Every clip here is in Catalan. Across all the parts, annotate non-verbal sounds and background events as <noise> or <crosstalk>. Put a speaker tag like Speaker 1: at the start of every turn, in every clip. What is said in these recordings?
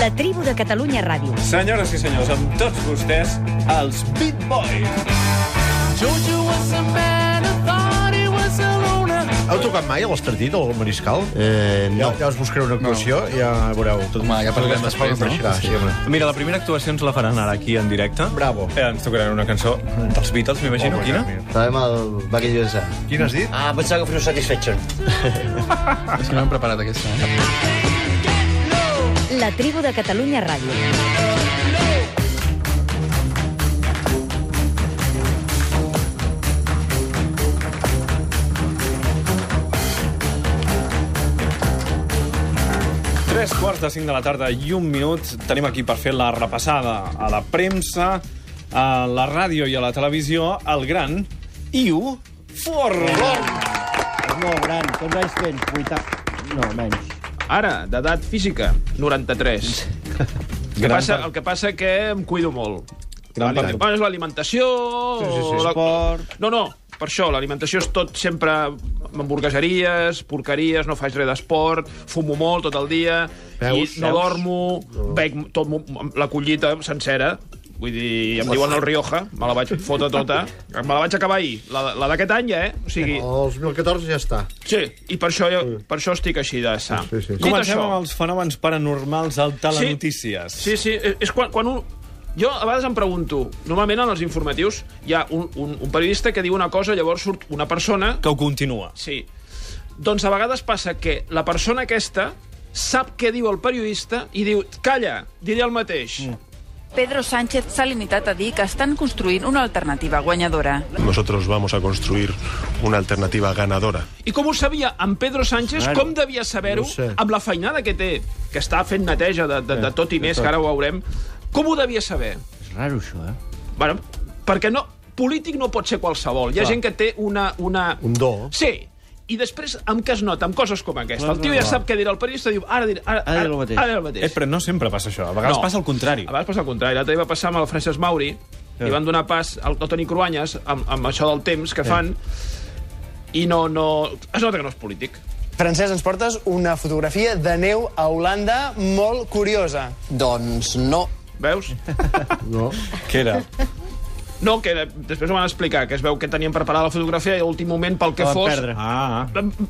Speaker 1: La tribu de Catalunya Ràdio.
Speaker 2: Senyores i senyors, amb tots vostès, els Beat Boys.
Speaker 3: Georgia was a man, I thought he was a loner.
Speaker 4: Heu tocat mai a l'Estartit, al Mariscal?
Speaker 5: Eh, no.
Speaker 4: Ja, ja us buscaré una actuació i ja veureu. Tot,
Speaker 5: Home, ja parlarem
Speaker 4: tot
Speaker 5: després,
Speaker 4: tot
Speaker 5: no?
Speaker 4: marxarà, Sí, home.
Speaker 2: Mira, la primera actuació ens la faran ara aquí en directe.
Speaker 4: Bravo.
Speaker 2: Eh, ens tocaran una cançó dels Beatles, m'imagino.
Speaker 4: Home,
Speaker 2: Quina?
Speaker 4: mira.
Speaker 5: Sabem el Bucket USA.
Speaker 4: Quina has dit?
Speaker 5: Ah, pensava que fos Satisfaction.
Speaker 6: És que m'han preparat aquesta.
Speaker 1: La tribu de Catalunya Ràdio.
Speaker 2: Tres quarts de cinc de la tarda i un minut. Tenim aquí per fer la repassada a la premsa, a la ràdio i a la televisió, el gran Iu Forn.
Speaker 7: És molt gran. Quants anys tens? 80... No, menys.
Speaker 8: Ara, d'edat física, 93. El que, passa, el que passa que em cuido molt.
Speaker 2: Gran
Speaker 8: L'aliment-
Speaker 2: part.
Speaker 8: Bueno, és l'alimentació... Sí, sí, sí.
Speaker 7: Esport.
Speaker 8: No, no, per això, l'alimentació és tot sempre hamburgueseries, porqueries, no faig res d'esport, fumo molt tot el dia,
Speaker 4: Veus?
Speaker 8: i no
Speaker 4: Veus?
Speaker 8: dormo, bec tot, mo- la collita sencera, Vull dir, em diuen el Rioja, me la vaig fotre tota. Me la vaig acabar ahir, la, la d'aquest any, eh? O sigui,
Speaker 4: El 2014 ja està.
Speaker 8: sí, i per això, per això estic així de sa.
Speaker 4: Sí, sí, sí.
Speaker 8: Dit
Speaker 2: Comencem
Speaker 8: això-
Speaker 2: amb els fenòmens paranormals al Telenotícies.
Speaker 8: Sí, sí, és- és quan, quan un... Jo a vegades em pregunto, normalment en els informatius hi ha un, un, un periodista que diu una cosa, llavors surt una persona...
Speaker 2: Que ho continua.
Speaker 8: Sí. Doncs a vegades passa que la persona aquesta sap què diu el periodista i diu, calla, diré el mateix. Mm.
Speaker 9: Pedro Sánchez s'ha limitat a dir que estan construint una alternativa guanyadora.
Speaker 10: Nosotros vamos a construir una alternativa ganadora.
Speaker 8: I com ho sabia en Pedro Sánchez,
Speaker 7: Claro.
Speaker 8: com devia saber-ho
Speaker 4: No ho sé.
Speaker 8: amb la feinada que té, que està fent neteja de, de, de tot i més, que ara ho veurem, com ho devia saber?
Speaker 7: És raro, això, eh?
Speaker 8: Bueno, perquè no, polític no pot ser qualsevol. Hi ha gent que té una... una...
Speaker 4: Un do.
Speaker 8: Sí, i després, amb què es nota? Amb coses com aquesta. El tio ja sap què dirà el periodista, diu, ara dirà, ara,
Speaker 7: Ara diré
Speaker 8: ara,
Speaker 7: el mateix.
Speaker 8: ara diré el mateix.
Speaker 2: Eh, però no sempre passa això. A vegades
Speaker 8: No.
Speaker 2: passa el contrari.
Speaker 8: A vegades passa el contrari. L'altre dia va passar amb el Francesc Mauri, li van donar pas al al Toni Cruanyes amb, amb això del temps que fan, i no, no... Es nota que no és polític.
Speaker 11: Francesc, ens portes una fotografia de neu a Holanda molt curiosa.
Speaker 5: Doncs no.
Speaker 8: Veus?
Speaker 2: Què era?
Speaker 8: <laughs> No, que de- després ho van explicar, que es veu que tenien preparada la fotografia i a últim moment, pel que
Speaker 7: La van
Speaker 8: fos,
Speaker 7: perdre.
Speaker 2: Ah,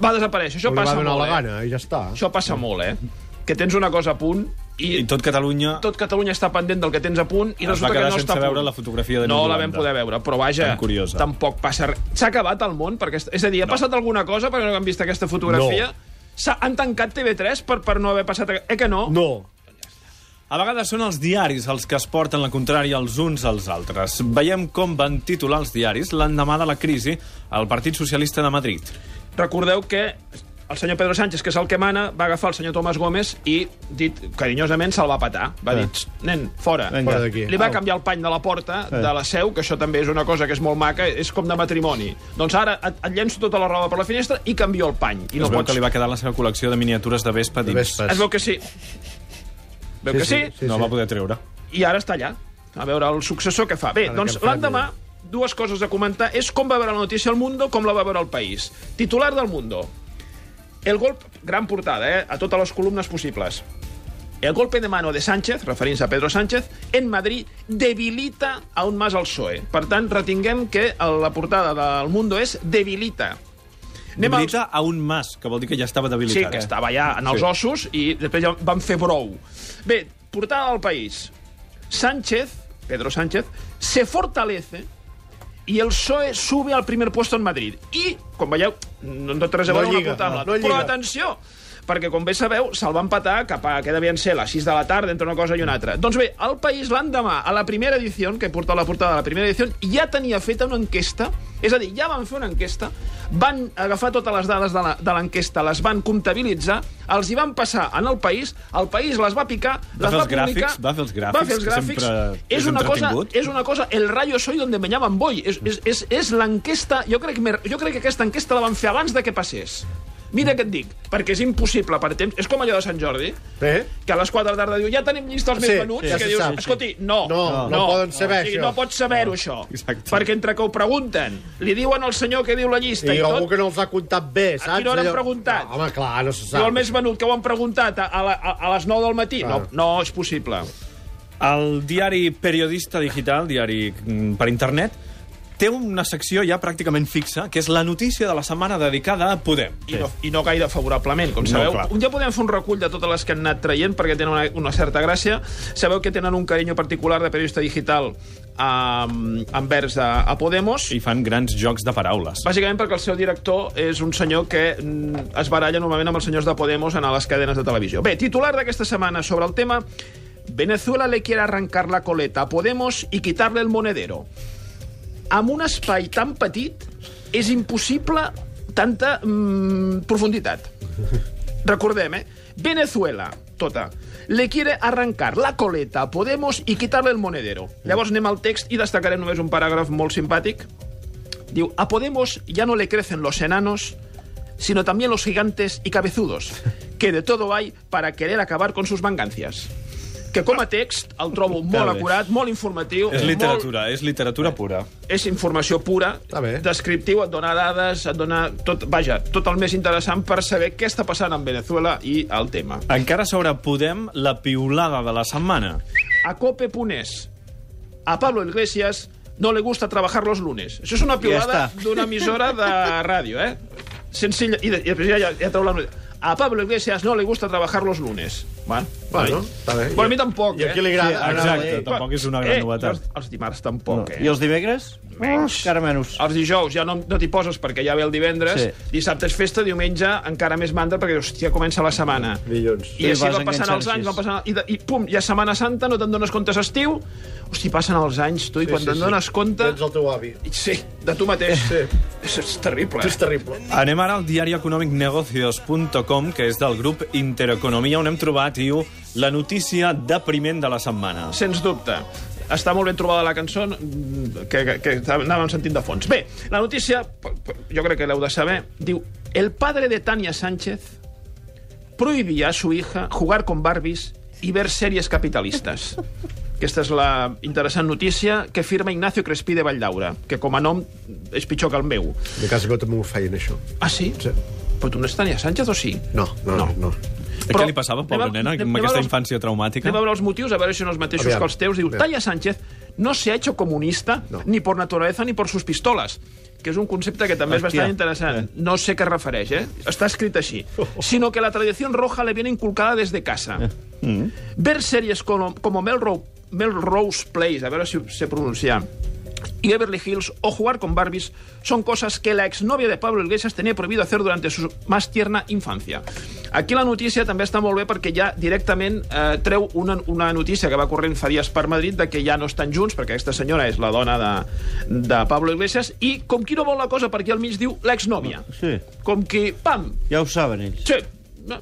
Speaker 8: va desaparèixer. Això
Speaker 4: Li va
Speaker 8: passa
Speaker 4: donar
Speaker 8: molt,
Speaker 4: la
Speaker 8: eh?
Speaker 4: gana i ja està.
Speaker 8: Això passa molt, eh? Que tens una cosa a punt i,
Speaker 2: i tot Catalunya...
Speaker 8: tot Catalunya està pendent del que tens a punt i
Speaker 2: Es va
Speaker 8: resulta que
Speaker 2: quedar
Speaker 8: no
Speaker 2: sense
Speaker 8: està a punt.
Speaker 2: veure la fotografia de
Speaker 8: No
Speaker 2: Nord
Speaker 8: la
Speaker 2: Holanda.
Speaker 8: vam poder veure, però vaja,
Speaker 2: Tan curiosa.
Speaker 8: tampoc passa res. S'ha acabat el món, perquè, és a dir, ha passat alguna cosa perquè no han vist aquesta fotografia? No. Han tancat TV3 per, per no haver passat... Eh que no?
Speaker 4: No.
Speaker 2: A vegades són els diaris els que es porten la contrària els uns als altres. Veiem com van titular els diaris l'endemà de la crisi al Partit Socialista de Madrid.
Speaker 8: Recordeu que el senyor Pedro Sánchez, que és el que mana, va agafar el senyor Tomàs Gómez i, dit carinyosament, se'l va patar. Va dir, "Txt, nen, fora.
Speaker 4: Vinga. Fora d'aquí.
Speaker 8: Li va canviar el pany de la porta, de la seu, que això també és una cosa que és molt maca, és com de matrimoni. Doncs ara et, et llenço tota la roba per la finestra i canvio el pany. I
Speaker 2: I es
Speaker 8: no
Speaker 2: veu
Speaker 8: pots...
Speaker 2: que li va quedar la seva col·lecció de miniatures de Vespa dins.
Speaker 4: Vespes.
Speaker 8: Es veu que sí. Veu que sí,
Speaker 4: Sí,
Speaker 2: no
Speaker 4: sí.
Speaker 2: el va poder treure.
Speaker 8: i ara està allà. A veure el successor què fa. Bé,
Speaker 4: veure
Speaker 8: doncs
Speaker 4: què farà,
Speaker 8: l'endemà, dues coses a comentar és com va veure la notícia El Mundo, com la va veure el País. Titular del Mundo. El golpe... Gran portada, eh? A totes les columnes possibles. El golpe de mano de Sánchez, referint-se a Pedro Sánchez, en Madrid debilita aún más al PSOE. E. Per tant, retinguem que la portada del Mundo és debilita. Anem als-
Speaker 2: Debilita a un mas, que vol dir que ja estava
Speaker 8: Sí,
Speaker 2: debilitat. eh?
Speaker 8: que estava allà en
Speaker 2: Sí.
Speaker 8: els sí. ossos i després ja van fer brou. Bé, portada al país. Sánchez, Pedro Sánchez, se fortalece i el PSOE sube al primer puesto en Madrid. I, com veieu, no, no té res a
Speaker 4: No
Speaker 8: veure
Speaker 4: lliga,
Speaker 8: una portada amb
Speaker 4: no,
Speaker 8: l'altra.
Speaker 4: no lliga.
Speaker 8: Però atenció, perquè com bé sabeu, se'l va empatar cap a, què devien ser, les 6 de la tarda, entre una cosa i una altra. Doncs bé, el País l'endemà, a la primera edició, que he portat la portada de la primera edició, ja tenia feta una enquesta, és a dir, ja van fer una enquesta, van agafar totes les dades de la- de l'enquesta, les van comptabilitzar, els hi van passar en el País, el País les va picar,
Speaker 2: Va
Speaker 8: les
Speaker 2: fer
Speaker 8: va
Speaker 2: els gràfics,
Speaker 8: publicar...
Speaker 2: va fer els
Speaker 8: Va fer els
Speaker 2: gràfics, que
Speaker 8: gràfics.
Speaker 2: sempre és
Speaker 8: És una cosa,
Speaker 2: entretingut.
Speaker 8: és una cosa, el rayo soy donde me llaman voy. És, és, és, és l'enquesta, jo crec, que me- jo crec que aquesta enquesta la van fer abans de que passés. Mira què et dic, perquè és impossible per temps... És com allò de Sant Jordi,
Speaker 4: Eh?
Speaker 8: que a les 4 de la tarda diu ja tenim llista els més
Speaker 4: Ah, Sí,
Speaker 8: venuts,
Speaker 4: sí, ja
Speaker 8: que
Speaker 4: se
Speaker 8: dius,
Speaker 4: sap, sí.
Speaker 8: escolti, no,
Speaker 4: No, no poden saber
Speaker 8: o sigui,
Speaker 4: això.
Speaker 8: No pots saber-ho, això.
Speaker 4: Exacte.
Speaker 8: Perquè entre que ho pregunten, li diuen al senyor que diu la llista
Speaker 4: I
Speaker 8: i,
Speaker 4: algú
Speaker 8: tot,
Speaker 4: que no els ha comptat bé, saps?
Speaker 8: quina hora han
Speaker 4: Allò-
Speaker 8: preguntat?
Speaker 4: No, home, clar, no se
Speaker 8: diu
Speaker 4: sap. Ah.
Speaker 8: el més venut que ho han preguntat a, a, la- a, a les 9 del matí. No,
Speaker 2: Clar.
Speaker 8: no és possible.
Speaker 2: El diari Periodista Digital, diari mm, per internet, té una secció ja pràcticament fixa, que és la notícia de la setmana dedicada a Podem.
Speaker 8: I no, I no gaire favorablement, com
Speaker 2: No,
Speaker 8: sabeu.
Speaker 2: clar.
Speaker 8: un dia podem fer un recull de totes les que han anat traient, perquè tenen una, una certa gràcia. Sabeu que tenen un carinyo particular de periodista digital um, envers a, a Podemos.
Speaker 2: I fan grans jocs de paraules.
Speaker 8: Bàsicament perquè el seu director és un senyor que mm, es baralla normalment amb els senyors de Podemos en les cadenes de televisió. Bé, titular d'aquesta setmana sobre el tema... Venezuela le quiere arrancar la coleta a Podemos i quitarle el monedero. Amb un espai tan petit és impossible tanta mm, profunditat. Recordem, eh? Venezuela, tota, le quiere arrancar la coleta a Podemos i quitarle el monedero.
Speaker 2: Mm.
Speaker 8: Llavors anem al text i destacarem només un paràgraf molt simpàtic. Diu, a Podemos ya no le crecen los enanos, sino también los gigantes
Speaker 2: <laughs>
Speaker 8: y cabezudos, que de todo hay para querer acabar con sus vangancias. Que com a text el trobo
Speaker 2: bé.
Speaker 8: molt acurat, molt informatiu,
Speaker 2: És literatura, és literatura pura.
Speaker 8: molt, és informació pura, descriptiu, et dona dades, et dona tot, vaja, tot el més interessant per saber què està passant en Venezuela i el tema.
Speaker 2: Encara sobre Podem, la piulada de la setmana.
Speaker 8: A Cope Punés, a Pablo Iglesias no le gusta trabajar los lunes. Això és una piulada
Speaker 2: està.
Speaker 8: d'una emissora de ràdio, eh? Senzilla. I, de- i després ja, ja, ja treu la... nota. A Pablo Iglesias no le gusta trabajar los lunes. Bueno,
Speaker 4: Bueno,
Speaker 8: ai.
Speaker 4: està bé.
Speaker 8: Bueno, a mi tampoc,
Speaker 4: I a
Speaker 8: eh?
Speaker 4: qui li agrada?
Speaker 8: Sí,
Speaker 2: Exacte,
Speaker 8: eh,
Speaker 2: tampoc és una gran
Speaker 8: eh,
Speaker 2: novetat.
Speaker 8: Els, els dimarts tampoc, eh?
Speaker 7: I els divendres?
Speaker 8: Menys.
Speaker 7: Encara menys.
Speaker 8: Els dijous ja no, no t'hi poses perquè ja ve el divendres,
Speaker 7: Sí.
Speaker 8: sí. dissabte és festa, diumenge encara més mandra perquè, hòstia, comença la setmana.
Speaker 4: Dilluns.
Speaker 8: I així
Speaker 7: vas
Speaker 8: va passant
Speaker 7: enganxant
Speaker 8: els anys,
Speaker 7: així.
Speaker 8: va passant... I, de- i pum, ja Setmana Santa, no te'n dones compte, és estiu. Hosti, passen els anys, tu, i
Speaker 4: Sí,
Speaker 8: quan
Speaker 4: sí,
Speaker 8: te'n
Speaker 4: sí.
Speaker 8: dones compte...
Speaker 4: Tens el teu avi.
Speaker 8: Sí, de tu mateix. Sí. És, és terrible.
Speaker 4: És terrible.
Speaker 2: Anem ara al diari econòmic negocios.com, que és del grup Intereconomia, on hem trobat, diu, la notícia depriment de la setmana.
Speaker 8: Sens dubte. Està molt ben trobada la cançó mm, que, que, que anàvem sentint de fons. Bé, la notícia, p- p- jo crec que l'heu de saber, diu El padre de Tania Sánchez prohibía a su hija jugar con Barbies y ver sèries capitalistes. Aquesta és la interessant notícia que firma Ignacio Crespí de Valldaura, que com a nom és pitjor que el meu.
Speaker 4: De casa meva també ho feien, això.
Speaker 8: Ah, sí?
Speaker 4: Sí.
Speaker 8: Però tu no és Tania Sánchez, o sí?
Speaker 4: No, no, no. no.
Speaker 2: Però, Què li passava, pobra nena, amb aquesta infància traumàtica?
Speaker 8: Anem a veure els motius, a veure si són els mateixos
Speaker 4: Aviam.
Speaker 8: que els teus. Diu,
Speaker 4: Aviam.
Speaker 8: Talla Sánchez no se ha hecho comunista
Speaker 4: No.
Speaker 8: ni por naturaleza ni por sus pistolas que és un concepte que també és
Speaker 7: Hòstia.
Speaker 8: bastant
Speaker 4: Eh.
Speaker 8: interessant. No sé què refereix, eh? Està escrit
Speaker 4: <laughs>
Speaker 8: així.
Speaker 4: Oh.
Speaker 8: Sino que la tradición roja le viene inculcada desde casa.
Speaker 4: Eh. Mm.
Speaker 8: Ver series como, como Melrose, Melrose Place, a veure si se pronuncia, y Beverly Hills o jugar con Barbies son cosas que la exnovia de Pablo Iglesias tenía prohibido hacer durante su más tierna infancia. Aquí la notícia també està molt bé perquè ja directament eh, treu una, una notícia que va corrent fa dies per Madrid de que ja no estan junts, perquè aquesta senyora és la dona de, de Pablo Iglesias, i com qui no vol la cosa, perquè al mig diu l'exnòvia.
Speaker 7: Ah, Sí,
Speaker 8: Com qui, pam,
Speaker 7: ja ho saben ells.
Speaker 8: Sí. No.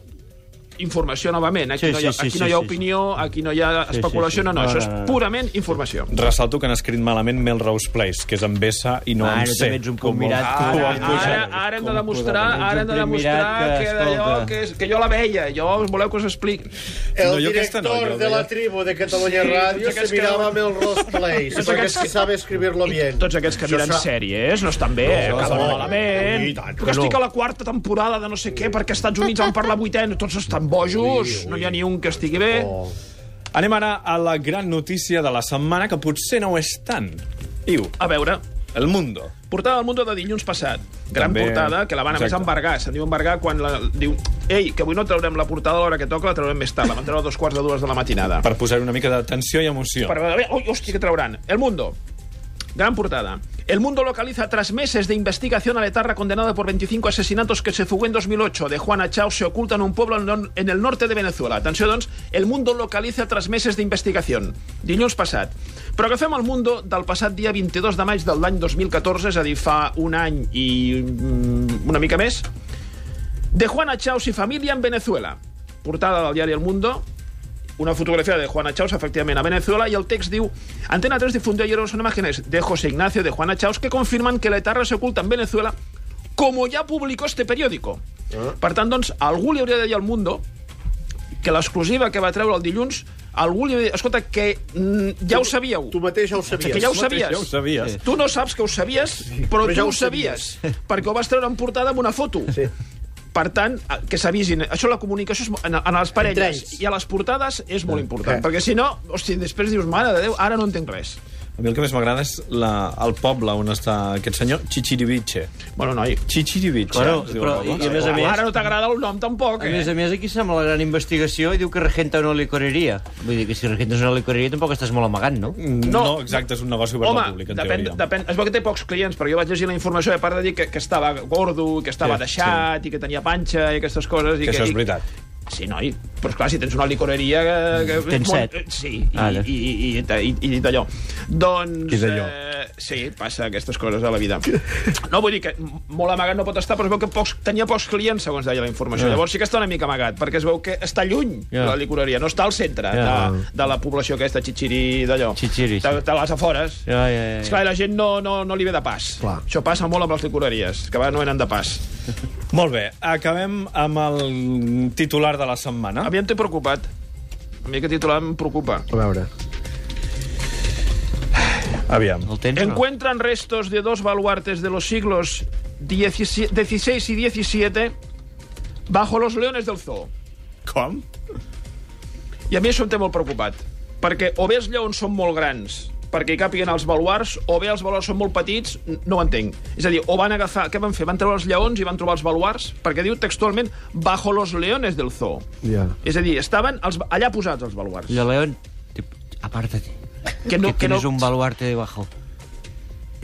Speaker 8: Informació, novament. eh? Aquí,
Speaker 7: Sí,
Speaker 8: no hi ha,
Speaker 7: sí, sí,
Speaker 8: aquí no hi
Speaker 7: sí,
Speaker 8: ha
Speaker 7: sí.
Speaker 8: opinió, aquí no hi ha
Speaker 7: sí,
Speaker 8: especulació,
Speaker 7: sí.
Speaker 8: no, no,
Speaker 7: No,
Speaker 8: això
Speaker 7: no,
Speaker 8: és
Speaker 7: no, no.
Speaker 8: purament informació.
Speaker 2: Ressalto que han escrit malament Melrose Place, que és amb S i no amb
Speaker 7: Bueno,
Speaker 2: C.
Speaker 7: també ets un
Speaker 2: com
Speaker 7: convidat.
Speaker 2: el-
Speaker 7: tu
Speaker 8: Ara,
Speaker 7: ho
Speaker 2: com
Speaker 7: has
Speaker 2: el-
Speaker 8: ara,
Speaker 7: posat.
Speaker 8: ara hem de
Speaker 7: Com
Speaker 8: demostrar,
Speaker 7: posat,
Speaker 8: ara hem de
Speaker 7: ets un
Speaker 8: demostrar
Speaker 7: privilegiat
Speaker 8: que,
Speaker 7: que,
Speaker 8: d'allò
Speaker 7: escolta.
Speaker 8: que, és, que jo la veia, jo voleu que us expliqui.
Speaker 4: El
Speaker 2: No, jo aquesta
Speaker 4: director
Speaker 2: no, jo
Speaker 4: de la
Speaker 2: veia.
Speaker 4: tribu de Catalunya
Speaker 8: Sí,
Speaker 4: Ràdio
Speaker 8: tots
Speaker 4: se
Speaker 8: aquests que-
Speaker 4: mirava amb el Ross Place,
Speaker 8: Tots
Speaker 4: perquè és
Speaker 8: aquests
Speaker 4: que
Speaker 8: que-
Speaker 4: sabe escribir-lo bien.
Speaker 8: Tots aquests que
Speaker 4: Això
Speaker 8: miren
Speaker 4: sa-
Speaker 8: sèries no estan bé, no,
Speaker 4: No,
Speaker 8: acaben
Speaker 4: no,
Speaker 8: malament.
Speaker 4: i tant que
Speaker 8: que estic
Speaker 4: no.
Speaker 8: a la quarta temporada de no sé què, perquè als Estats Units van per la vuitena, tots estan bojos, no hi ha ni un que estigui bé.
Speaker 4: Oh.
Speaker 2: Anem ara a la gran notícia de la setmana, que potser no ho és tant. Iu,
Speaker 8: A veure,
Speaker 2: El Mundo.
Speaker 8: Portada del Mundo de dilluns passat. Gran
Speaker 2: També-
Speaker 8: També... portada, que la van a més
Speaker 2: Exacte.
Speaker 8: embargar. Se'n diu embargar quan la, diu... Ei, que avui no traurem la portada a l'hora que toca, la traurem més tard. La van treure a dos quarts de dues de la matinada.
Speaker 2: Per posar una mica de tensió i emoció.
Speaker 8: Per veure... Ui, hòstia, que trauran. El Mundo. Gran portada. El Mundo localiza tras meses de investigación a la etarra condenada por 25 asesinatos que se fugó en 2008 de Juana Chao se oculta en un pueblo en nor- en el norte de Venezuela. Atenció, doncs, El Mundo localiza tras meses de investigación. Dilluns passat. Però agafem el Mundo del passat dia 22 de maig de l'any 2014, és a dir, fa un any i mm, una mica més, de Juana Chaos y familia en Venezuela. Portada del diari El Mundo, una fotografía de Juana Chaos, efectivamente, a Venezuela, y el text diu... Antena 3 difundió ayer unas imágenes de José Ignacio de Juana Chaos que confirman que la etarra se oculta en Venezuela, como ya publicó este periódico. Per tant, doncs, algú li hauria de dir al Mundo que l'exclusiva que va treure el dilluns, algú li hauria de dir, escolta, que mm, ja ho sabíeu.
Speaker 4: Tu mateix ja ho sabies.
Speaker 8: Que ja ho
Speaker 2: Tu mateix
Speaker 8: sabies.
Speaker 2: ja ho sabies.
Speaker 8: Tu no saps que ho sabies, però,
Speaker 4: Però ja
Speaker 8: tu
Speaker 4: ho
Speaker 8: ho sabies, perquè ho vas treure en portada amb una foto.
Speaker 4: Sí.
Speaker 8: Per tant, eh, que s'avisin. Això la comunicació és, mo- en, en les parelles
Speaker 4: ells.
Speaker 8: i a les portades és
Speaker 2: Eh,
Speaker 8: molt important,
Speaker 4: Sí.
Speaker 8: perquè si no, hosti, després dius, mare de Déu, ara no entenc res.
Speaker 2: A mi el que més m'agrada és la, el poble on està aquest senyor, Chichiribiche.
Speaker 8: Bueno, noi,
Speaker 2: Chichiribiche.
Speaker 12: Bueno,
Speaker 2: es diu
Speaker 12: però-
Speaker 2: el poble.
Speaker 12: i a més a més-
Speaker 8: ara no t'agrada el nom tampoc,
Speaker 12: A
Speaker 8: eh?
Speaker 12: més a més, aquí sembla la gran investigació i diu que regenta una licoreria. Vull dir que si regentes una licoreria tampoc estàs molt amagant, no?
Speaker 2: Mm, No, no, exacte, és un negoci obert
Speaker 8: Home,
Speaker 2: al públic, en
Speaker 8: depèn,
Speaker 2: teoria.
Speaker 8: depèn, es veu que té pocs clients, perquè jo vaig llegir la informació, a part de dir que, que estava gordo, que estava
Speaker 2: Sí,
Speaker 8: sí, deixat, sí. i que tenia panxa, i aquestes coses... I
Speaker 2: Que això és
Speaker 8: i-
Speaker 2: veritat.
Speaker 8: Sí, noi, però esclar, si tens una licoreria... Que, que,
Speaker 12: Mm, Tens
Speaker 8: molt-
Speaker 12: set. Ah,
Speaker 8: eh, Sí, i,
Speaker 12: Ara.
Speaker 8: i, i, i, i, i d'allò. Doncs...
Speaker 2: I d'allò.
Speaker 8: Eh, sí, passa aquestes coses a la vida. No, vull dir que molt amagat no pot estar, però es veu que pocs, tenia pocs clients, segons deia la informació.
Speaker 12: Ja.
Speaker 8: Llavors sí que està una mica amagat, perquè es veu que està lluny,
Speaker 12: Ah. Ja.
Speaker 8: la licoreria, no està al centre
Speaker 12: Ja.
Speaker 8: de, de la població aquesta, Chichiri, d'allò.
Speaker 12: Chichiri, sí.
Speaker 8: De, de les afores.
Speaker 12: Ja, ja, ja.
Speaker 8: Esclar, la gent no, no, no li ve de pas.
Speaker 4: Clar.
Speaker 8: Això passa molt amb les licoreries, que va, no eren de pas.
Speaker 2: Molt bé, acabem amb el titular de la setmana.
Speaker 8: A mi em té preocupat. A mi aquest titular em preocupa.
Speaker 4: A veure.
Speaker 2: Aviam.
Speaker 12: El tens, no?
Speaker 8: Encuentran restos de dos baluartes de los siglos XVI y XVII bajo los leones del zoo.
Speaker 2: Com?
Speaker 8: I a mi això em té molt preocupat, perquè o bé els lleons són molt grans perquè hi càpiguen els baluars, o bé els baluars són molt petits, n- no ho entenc. És a dir, o van agafar... Què van fer? Van treure els lleons i van trobar els baluars? Perquè diu textualment bajo los leones del zoo.
Speaker 4: Ja.
Speaker 8: És a dir, estaven els, allà posats els baluars.
Speaker 12: Lo León, te- apártate.
Speaker 8: Que
Speaker 12: que tienes un baluarte debajo.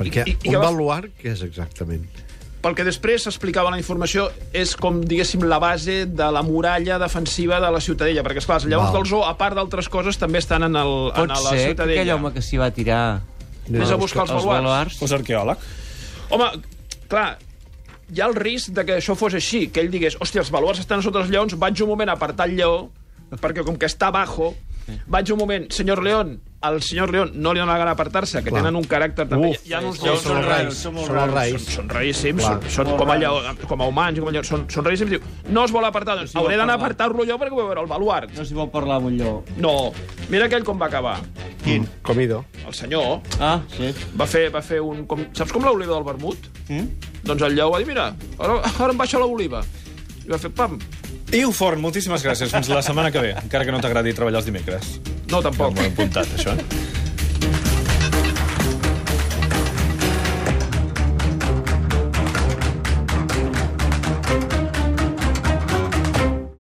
Speaker 4: Perquè
Speaker 8: I- i-
Speaker 4: un
Speaker 8: i que vas-
Speaker 4: baluar, què és exactament?
Speaker 8: Pel que després s'explicava la informació, és com, diguéssim, la base de la muralla defensiva de la Ciutadella. Perquè, esclar, els lleons
Speaker 4: Val.
Speaker 8: del zoo, a part d'altres coses, també estan en, el, en
Speaker 12: Pot
Speaker 8: la
Speaker 12: ser que aquell
Speaker 8: Ciutadella.
Speaker 12: home que s'hi va tirar
Speaker 8: Vés
Speaker 4: Doncs
Speaker 8: a buscar els
Speaker 12: els
Speaker 8: baluars.
Speaker 12: baluars...
Speaker 2: Fos arqueòleg.
Speaker 8: Home, clar, hi ha el risc de que això fos així, que ell digués, hòstia, els baluars estan sota els lleons, vaig un moment a apartar el lleó, perquè com que està bajo, vaig un moment, senyor León, al senyor León no li dona la gana apartar-se, que
Speaker 4: Clar.
Speaker 8: tenen un caràcter també.
Speaker 4: Uf,
Speaker 8: hi ha uns
Speaker 4: sí,
Speaker 8: lleons
Speaker 4: són
Speaker 8: són,
Speaker 4: raros,
Speaker 8: raros,
Speaker 4: són molt raros.
Speaker 8: Són, són raríssims,
Speaker 4: Clar.
Speaker 8: són, són com, a lleó, com a humans, com a lleons, són, són raríssims. Diu, no es vol apartar, doncs
Speaker 12: s'hi vol
Speaker 8: hauré d'anar a
Speaker 12: parlar.
Speaker 8: apartar-lo jo perquè vull veure el baluart.
Speaker 12: No s'hi vol parlar amb un lloc.
Speaker 8: No, mira aquell com va acabar.
Speaker 4: Quin? Comido.
Speaker 8: El senyor
Speaker 12: Ah, sí.
Speaker 8: va fer, va fer un... Com, saps com l'oliva del vermut? Mm? Doncs el lleó va dir, mira, ara, ara em baixa l'oliva. I va fer pam.
Speaker 2: Iu Fort, moltíssimes gràcies. Fins la setmana que ve, encara que no t'agradi treballar els dimecres.
Speaker 8: No, tampoc.
Speaker 2: Apuntat, això. eh?